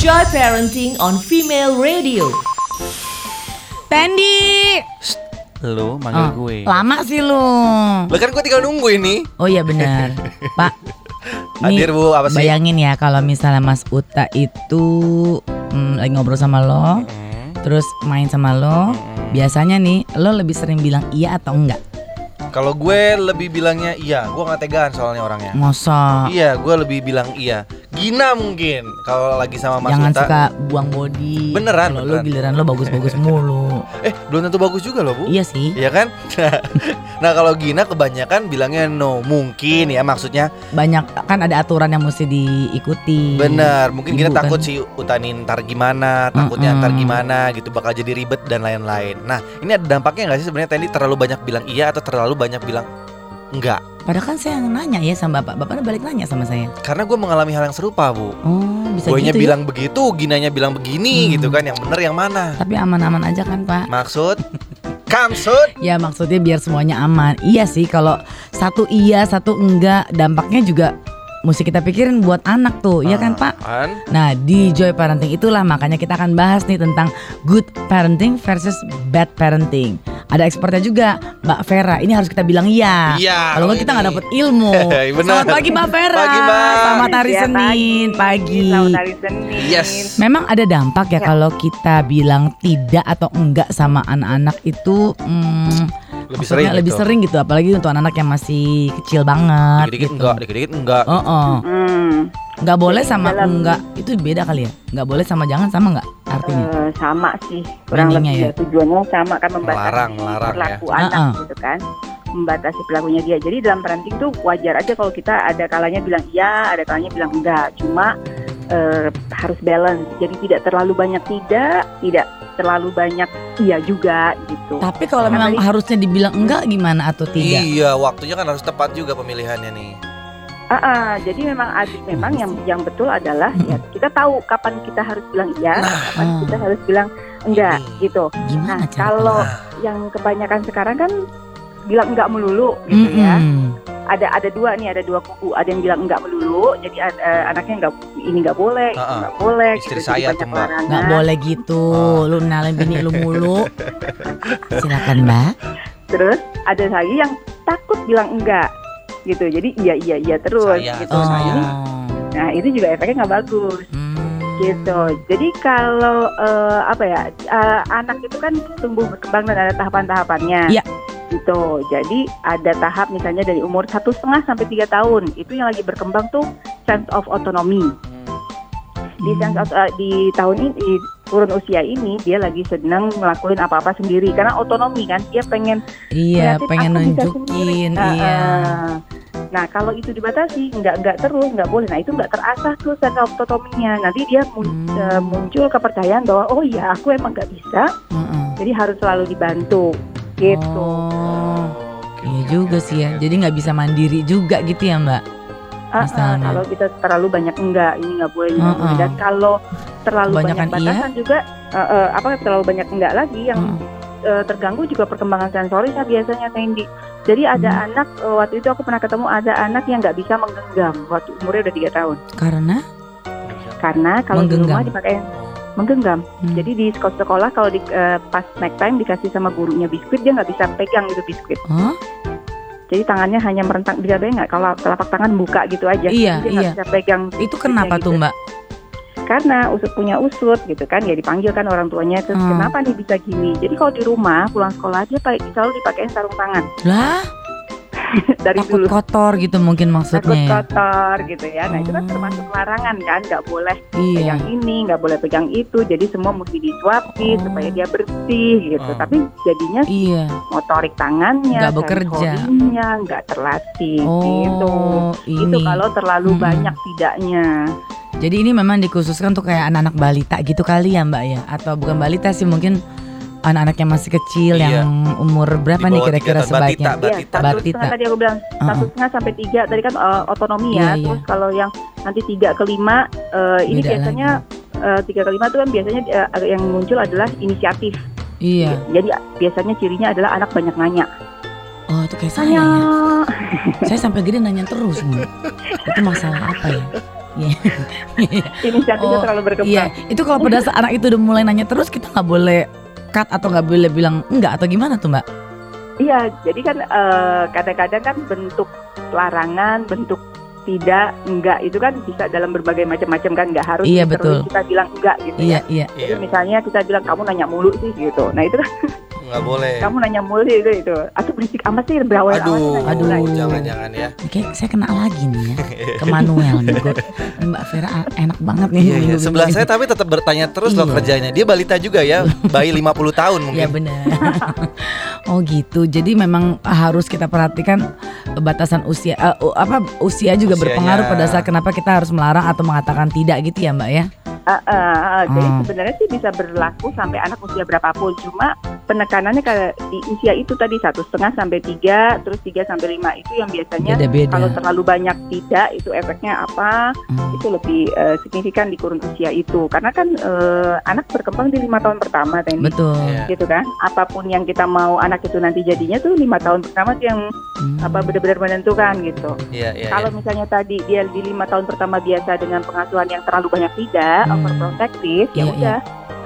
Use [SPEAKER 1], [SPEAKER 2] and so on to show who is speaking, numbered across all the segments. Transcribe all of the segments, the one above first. [SPEAKER 1] Enjoy parenting on female radio.
[SPEAKER 2] Pendi.
[SPEAKER 3] Lu manggil
[SPEAKER 2] Oh,
[SPEAKER 3] gue.
[SPEAKER 2] Lama sih lu.
[SPEAKER 4] Lah kan gue tinggal nunggu ini.
[SPEAKER 2] Oh iya benar. Pak. nih,
[SPEAKER 4] Hadir Bu, apa sih?
[SPEAKER 2] Bayangin ya kalau misalnya Mas Uta itu mm, lagi ngobrol sama lo,
[SPEAKER 3] Eh.
[SPEAKER 2] terus main sama lo, biasanya nih lo lebih sering bilang iya atau enggak?
[SPEAKER 4] Kalau gue lebih bilangnya iya, gue nggak tegaan soalnya orangnya.
[SPEAKER 2] Nah. Ngosok.
[SPEAKER 4] Iya, gue lebih bilang iya. Gina mungkin kalau lagi sama Mas
[SPEAKER 2] Jangan
[SPEAKER 4] Uta.
[SPEAKER 2] suka buang body.
[SPEAKER 4] Beneran,
[SPEAKER 2] Kalau lo
[SPEAKER 4] beneran.
[SPEAKER 2] giliran lo bagus-bagus mulu.
[SPEAKER 4] Eh, belum tentu bagus juga loh bu.
[SPEAKER 2] iya sih.
[SPEAKER 4] Iya kan? nah kalau Gina kebanyakan bilangnya no mungkin ya maksudnya
[SPEAKER 2] Banyak kan ada aturan yang mesti diikuti.
[SPEAKER 4] benar mungkin Gina
[SPEAKER 2] Iya. Ibu kan.
[SPEAKER 4] takut si Utani ntar gimana takutnya ntar gimana gitu bakal jadi ribet dan lain-lain. Nah ini ada dampaknya nggak sih sebenarnya Tendi terlalu banyak bilang iya atau terlalu banyak bilang enggak?
[SPEAKER 2] Padahal kan saya yang nanya ya sama bapak. Bapak balik nanya sama saya.
[SPEAKER 4] Karena gue mengalami hal yang serupa bu.
[SPEAKER 2] Oh bisa gitu
[SPEAKER 4] Boynya
[SPEAKER 2] ya?
[SPEAKER 4] bilang begitu, Ginanya bilang begini
[SPEAKER 2] Hmm.
[SPEAKER 4] gitu kan Yang bener yang mana?
[SPEAKER 2] Tapi aman-aman aja kan pak
[SPEAKER 4] Maksud? Kamsud?
[SPEAKER 2] Ya maksudnya biar semuanya aman Iya sih kalau satu iya satu enggak Dampaknya juga mesti kita pikirin buat anak tuh Iya kan pak?
[SPEAKER 4] Kan?
[SPEAKER 2] Nah di Joy Parenting itulah makanya kita akan bahas nih tentang Good parenting versus bad parenting Ada expertnya juga Mbak Vera Ini harus kita bilang iya
[SPEAKER 4] Iya,
[SPEAKER 2] Kalau enggak
[SPEAKER 4] ini.
[SPEAKER 2] kita nggak dapet ilmu
[SPEAKER 4] Benar.
[SPEAKER 2] Selamat pagi Mbak Vera
[SPEAKER 4] Pagi, Mbak.
[SPEAKER 2] Selamat hari
[SPEAKER 5] Iya,
[SPEAKER 2] Senin Pagi
[SPEAKER 5] Selamat hari Senin.
[SPEAKER 4] Yes.
[SPEAKER 2] Memang ada dampak ya, kalau kita bilang tidak atau enggak sama anak-anak itu mm,
[SPEAKER 4] Lebih
[SPEAKER 2] maksudnya
[SPEAKER 4] sering
[SPEAKER 2] lebih
[SPEAKER 4] gitu.
[SPEAKER 2] sering gitu apalagi untuk anak-anak yang masih kecil banget
[SPEAKER 4] Dikit-dikit
[SPEAKER 2] gitu.
[SPEAKER 4] enggak, dikit-dikit enggak
[SPEAKER 2] Oh, oh.
[SPEAKER 5] Hmm,
[SPEAKER 2] Nggak boleh sama
[SPEAKER 5] Dalam-
[SPEAKER 2] enggak itu beda kali ya. Nggak boleh sama jangan sama enggak artinya.
[SPEAKER 5] eh, sama sih kurang
[SPEAKER 2] Bandingnya
[SPEAKER 5] lebih ya. tujuannya sama kan membatasi
[SPEAKER 4] Melarang, melarang ya.
[SPEAKER 5] perilaku anak
[SPEAKER 2] Ah, ah.
[SPEAKER 5] gitu kan membatasi perilakunya dia jadi dalam parenting tuh wajar aja kalau kita ada kalanya bilang iya ada kalanya bilang enggak cuma eh, harus balance jadi tidak terlalu banyak tidak tidak terlalu banyak iya juga gitu
[SPEAKER 2] Tapi kalau
[SPEAKER 5] Karena
[SPEAKER 2] memang
[SPEAKER 5] ini-
[SPEAKER 2] harusnya dibilang enggak gimana atau tidak?
[SPEAKER 4] Iya, waktunya kan harus tepat juga pemilihannya nih
[SPEAKER 5] Ah, ah, jadi memang adik memang yang yang betul adalah ya
[SPEAKER 4] Hmm.
[SPEAKER 5] kita tahu kapan kita harus bilang iya kapan
[SPEAKER 2] Ah.
[SPEAKER 5] kita harus bilang enggak
[SPEAKER 4] Nah, Ini.
[SPEAKER 5] gitu
[SPEAKER 2] Gimana
[SPEAKER 5] Nah,
[SPEAKER 2] cara?
[SPEAKER 5] kalau yang kebanyakan sekarang kan bilang enggak melulu gitu ya. Ada ada dua nih, ada dua kubu. Ada yang bilang enggak melulu, jadi ad- eh, anaknya enggak ini enggak boleh, itu
[SPEAKER 4] Ah, ah.
[SPEAKER 5] enggak boleh.
[SPEAKER 4] Istri
[SPEAKER 5] gitu. Jadi
[SPEAKER 4] saya
[SPEAKER 5] banyak
[SPEAKER 4] tuh, Mbak.
[SPEAKER 5] larangan.
[SPEAKER 2] Nggak boleh gitu.
[SPEAKER 4] Ah.
[SPEAKER 2] Lu nalin bini lu mulu. Silakan, Mbak.
[SPEAKER 5] Terus ada lagi yang takut bilang enggak gitu. Jadi iya iya iya terus
[SPEAKER 4] Saya,
[SPEAKER 5] gitu.
[SPEAKER 4] Oh,
[SPEAKER 2] Oh.
[SPEAKER 4] saya.
[SPEAKER 5] Nah, itu juga efeknya enggak bagus.
[SPEAKER 2] Hmm.
[SPEAKER 5] gitu. Jadi kalau eh, apa ya eh, anak itu kan tumbuh berkembang dan ada tahapan-tahapannya.
[SPEAKER 2] Iya.
[SPEAKER 5] Gitu. Jadi ada tahap misalnya dari umur satu setengah sampai tiga tahun itu yang lagi berkembang tuh sense of autonomy. Di
[SPEAKER 2] Hmm.
[SPEAKER 5] sense of- eh, di tahun ini di turun usia ini dia lagi sedang ngelakuin apa-apa sendiri karena autonomi kan dia pengen
[SPEAKER 2] Iya,
[SPEAKER 5] kreatif,
[SPEAKER 2] pengen
[SPEAKER 5] aku bisa
[SPEAKER 2] nunjukin,
[SPEAKER 5] sendiri. Ah,
[SPEAKER 2] iya.
[SPEAKER 5] ah. Nah kalau itu dibatasi nggak nggak terus nggak boleh. Nah itu nggak terasah tuh sense of autonomy-nya. Nanti dia mun-
[SPEAKER 2] Hmm.
[SPEAKER 5] eh, muncul kepercayaan bahwa oh iya aku emang nggak bisa,
[SPEAKER 2] Hmm, Heeh.
[SPEAKER 5] jadi harus selalu dibantu gitu.
[SPEAKER 2] Oh,
[SPEAKER 4] Oke,
[SPEAKER 2] iya
[SPEAKER 4] oke,
[SPEAKER 2] juga
[SPEAKER 4] oke,
[SPEAKER 2] sih ya.
[SPEAKER 4] oke.
[SPEAKER 2] Jadi nggak bisa mandiri juga gitu ya Mbak.
[SPEAKER 5] Ah, ah,
[SPEAKER 2] misalnya.
[SPEAKER 5] kalau kita terlalu banyak enggak ini nggak boleh ini nggak
[SPEAKER 2] Mm-mm.
[SPEAKER 5] boleh. dan kalau terlalu
[SPEAKER 2] Ah, Kebanyakan iya.
[SPEAKER 5] banyak batasan juga eh, eh, apa terlalu banyak enggak lagi yang
[SPEAKER 2] Heeh.
[SPEAKER 5] eh, terganggu juga perkembangan sensorisnya biasanya Sandy. Jadi ada
[SPEAKER 2] Hmm.
[SPEAKER 5] anak eh, waktu itu aku pernah ketemu ada anak yang nggak bisa menggenggam waktu umurnya udah tiga tahun
[SPEAKER 2] Karena
[SPEAKER 5] karena kalau
[SPEAKER 2] Ya.
[SPEAKER 5] di
[SPEAKER 2] Menggenggam.
[SPEAKER 5] rumah dipakai menggenggam.
[SPEAKER 2] Hmm.
[SPEAKER 5] Jadi di sekolah, sekolah kalau di, eh, pas snack time dikasih sama gurunya biskuit dia nggak bisa pegang itu biskuit.
[SPEAKER 2] Hah?
[SPEAKER 5] Jadi tangannya hanya merentang bisa bayang nggak kalau telapak tangan buka gitu aja.
[SPEAKER 2] Iya,
[SPEAKER 5] Dia nggak
[SPEAKER 2] iya.
[SPEAKER 5] bisa pegang
[SPEAKER 2] itu kenapa
[SPEAKER 5] gitu.
[SPEAKER 2] tuh Mbak?
[SPEAKER 5] karena usut punya usut gitu kan ya dipanggil kan orang tuanya terus
[SPEAKER 2] Hmm.
[SPEAKER 5] kenapa nih bisa gini. Jadi kalau di rumah pulang sekolah dia pakai selalu dipakai sarung tangan
[SPEAKER 2] Lah,
[SPEAKER 5] dari
[SPEAKER 2] takut
[SPEAKER 5] dulu.
[SPEAKER 2] kotor gitu mungkin
[SPEAKER 5] takut
[SPEAKER 2] maksudnya. ya?
[SPEAKER 5] kotor gitu ya. Nah itu kan
[SPEAKER 2] Oh.
[SPEAKER 5] termasuk larangan kan, nggak boleh
[SPEAKER 2] Iya.
[SPEAKER 5] pegang ini, nggak boleh pegang itu. Jadi semua mesti disuapin
[SPEAKER 2] Oh.
[SPEAKER 5] supaya dia bersih gitu.
[SPEAKER 4] Oh.
[SPEAKER 5] Tapi jadinya
[SPEAKER 2] Iya.
[SPEAKER 5] motorik tangannya,
[SPEAKER 2] Nggak bekerja.
[SPEAKER 5] sensorinya nggak terlatih gitu.
[SPEAKER 2] Oh,
[SPEAKER 5] Itu
[SPEAKER 2] ini. Hmm.
[SPEAKER 5] kalau terlalu
[SPEAKER 2] Mm-mm.
[SPEAKER 5] banyak tidaknya.
[SPEAKER 2] Jadi ini memang dikhususkan untuk kayak anak-anak balita gitu kali ya Mbak ya? Atau bukan balita sih mungkin anak-anak yang masih kecil
[SPEAKER 4] Iya.
[SPEAKER 2] yang umur berapa nih
[SPEAKER 4] Di bawah tiga
[SPEAKER 2] kira-kira
[SPEAKER 4] tahun,
[SPEAKER 2] sebaiknya?
[SPEAKER 4] Batita, Batita.
[SPEAKER 5] Iya, satu
[SPEAKER 2] Batita.
[SPEAKER 5] setengah tadi aku bilang satu setengah sampai tiga tadi kan eh, autonomi ya.
[SPEAKER 2] Iya,
[SPEAKER 5] Terus kalau yang nanti tiga ke lima eh, ini
[SPEAKER 2] Beda
[SPEAKER 5] biasanya eh, tiga ke lima itu kan biasanya eh, yang muncul adalah inisiatif.
[SPEAKER 2] Iya.
[SPEAKER 5] Jadi biasanya cirinya adalah anak banyak nanya.
[SPEAKER 2] Oh, itu kayak saya
[SPEAKER 5] Tanya.
[SPEAKER 2] ya. Saya sampai gede nanya terus. Bu. Itu masalah apa ya? Iya.
[SPEAKER 5] inisiatifnya
[SPEAKER 2] Oh,
[SPEAKER 5] terlalu berkembang.
[SPEAKER 2] Iya, itu kalau pada saat anak itu udah mulai nanya terus kita nggak boleh cut atau nggak boleh bilang enggak atau gimana tuh mbak?
[SPEAKER 5] Iya, jadi kan eh, kadang-kadang kan bentuk larangan, bentuk tidak, enggak itu kan bisa dalam berbagai macam-macam kan nggak harus
[SPEAKER 2] Iya,
[SPEAKER 5] terus
[SPEAKER 2] betul.
[SPEAKER 5] kita bilang enggak gitu
[SPEAKER 2] Iya
[SPEAKER 5] ya.
[SPEAKER 2] iya.
[SPEAKER 5] Jadi
[SPEAKER 4] Iya,
[SPEAKER 5] misalnya kita bilang kamu nanya mulu sih gitu. Nah itu kan
[SPEAKER 4] nggak boleh.
[SPEAKER 5] kamu nanya mulu sih, itu itu. Aku berisik amat sih berawal
[SPEAKER 4] Aduh,
[SPEAKER 5] amat sih nanya
[SPEAKER 2] aduh.
[SPEAKER 5] mulu.
[SPEAKER 4] jangan-jangan ya.
[SPEAKER 2] Ini Kayak saya kena lagi nih ya ke Manuel nih. Gua- Mbak Vera a- enak banget nih.
[SPEAKER 4] Iya, iya.
[SPEAKER 2] minggu
[SPEAKER 4] Sebelah
[SPEAKER 2] ini.
[SPEAKER 4] saya tapi tetap bertanya terus loh
[SPEAKER 2] Iya.
[SPEAKER 4] kerjanya. Dia balita juga ya, bayi 50 tahun
[SPEAKER 2] Ya
[SPEAKER 4] mungkin.
[SPEAKER 2] benar. oh gitu. Jadi memang harus kita perhatikan batasan usia eh, u- apa usia juga
[SPEAKER 4] Usianya.
[SPEAKER 2] berpengaruh pada saat kenapa kita harus melarang atau mengatakan tidak gitu ya, Mbak ya.
[SPEAKER 5] Ah, ah, ah. Jadi
[SPEAKER 2] Hmm.
[SPEAKER 5] sebenarnya sih bisa berlaku sampai anak usia berapapun. Cuma penekanannya kalau di usia itu tadi satu setengah sampai tiga, terus tiga sampai lima itu yang
[SPEAKER 4] Iya.
[SPEAKER 5] biasanya
[SPEAKER 2] Beda-beda.
[SPEAKER 5] kalau terlalu banyak tidak itu efeknya apa?
[SPEAKER 2] Hmm.
[SPEAKER 5] itu lebih eh, signifikan di kurun usia itu karena kan eh, anak berkembang di lima tahun pertama teknik
[SPEAKER 2] Betul.
[SPEAKER 4] Iya.
[SPEAKER 5] gitu kan apapun yang kita mau anak itu nanti jadinya tuh lima tahun pertama tuh yang
[SPEAKER 2] Hmm.
[SPEAKER 5] apa benar-benar menentukan gitu
[SPEAKER 4] Iya, iya.
[SPEAKER 5] kalau
[SPEAKER 4] iya.
[SPEAKER 5] misalnya tadi dia di lima tahun pertama biasa dengan pengasuhan yang terlalu banyak tidak
[SPEAKER 2] Hmm.
[SPEAKER 5] overprotective ya
[SPEAKER 2] Iya, Oh.
[SPEAKER 5] udah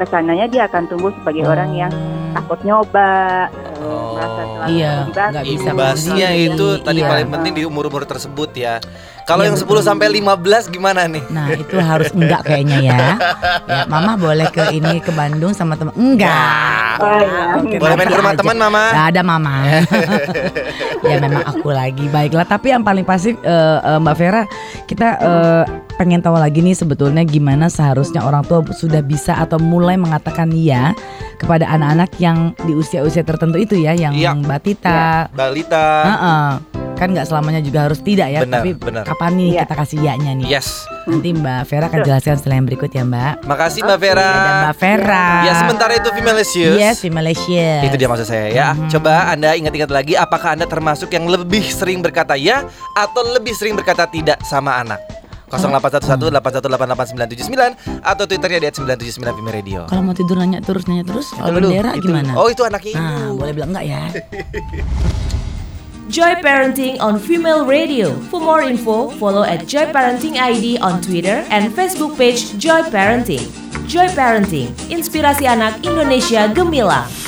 [SPEAKER 5] kesananya dia akan tumbuh sebagai orang yang takut nyoba eh,
[SPEAKER 4] Oh,
[SPEAKER 5] merasa selalu
[SPEAKER 2] iya,
[SPEAKER 5] terlibat. gitu.
[SPEAKER 2] nggak bisa
[SPEAKER 4] Imbasnya
[SPEAKER 2] mandiri.
[SPEAKER 4] itu tadi
[SPEAKER 2] Iya.
[SPEAKER 4] paling penting di umur-umur tersebut ya. Kalau
[SPEAKER 2] Iya,
[SPEAKER 4] yang 10
[SPEAKER 2] betul.
[SPEAKER 4] sampai 15 gimana nih?
[SPEAKER 2] Nah itu harus enggak kayaknya ya. ya Mama boleh ke ini ke Bandung sama teman enggak.
[SPEAKER 5] Oh, iya.
[SPEAKER 2] oke,
[SPEAKER 4] Boleh main
[SPEAKER 2] nanti
[SPEAKER 4] ke rumah
[SPEAKER 2] aja.
[SPEAKER 4] teman, Mama?
[SPEAKER 2] Gak ada mama Ya memang aku lagi Baiklah tapi yang paling pasti eh, eh, Mbak Vera Kita eh, pengen tahu lagi nih sebetulnya gimana seharusnya orang tua sudah bisa atau mulai mengatakan ya kepada anak-anak yang di usia-usia tertentu itu ya yang
[SPEAKER 4] Iya.
[SPEAKER 2] batita
[SPEAKER 4] Balita.
[SPEAKER 2] Heeh. kan nggak selamanya juga harus tidak ya
[SPEAKER 4] Benar,
[SPEAKER 2] tapi
[SPEAKER 4] benar.
[SPEAKER 2] kapan nih
[SPEAKER 5] Iya.
[SPEAKER 2] kita kasih ya-nya nih
[SPEAKER 4] Yes.
[SPEAKER 2] nanti Mbak Vera akan jelaskan setelah yang berikut ya Mbak
[SPEAKER 4] Makasih Mbak Vera.
[SPEAKER 2] ada Mbak Vera Iya,
[SPEAKER 4] Ya sementara itu female issues.
[SPEAKER 2] Yes, di Malaysia
[SPEAKER 4] Itu dia maksud saya ya.
[SPEAKER 2] Mhm.
[SPEAKER 4] Coba Anda ingat-ingat lagi apakah Anda termasuk yang lebih sering berkata ya atau lebih sering berkata tidak sama anak?
[SPEAKER 2] Oh.
[SPEAKER 4] 0811 8188979 atau twitternya di 979 Vime Radio.
[SPEAKER 2] Kalau mau tidur nanya terus nanya terus
[SPEAKER 4] Itu
[SPEAKER 2] kalau
[SPEAKER 4] dulu,
[SPEAKER 2] bendera
[SPEAKER 4] itu.
[SPEAKER 2] gimana? Ah,
[SPEAKER 4] Oh itu anaknya itu.
[SPEAKER 2] Nah, boleh bilang enggak ya?
[SPEAKER 1] Joy Parenting on Female Radio. For more info, follow at Joy Parenting ID on Twitter and Facebook page Joy Parenting. Joy Parenting, inspirasi anak Indonesia gemilang.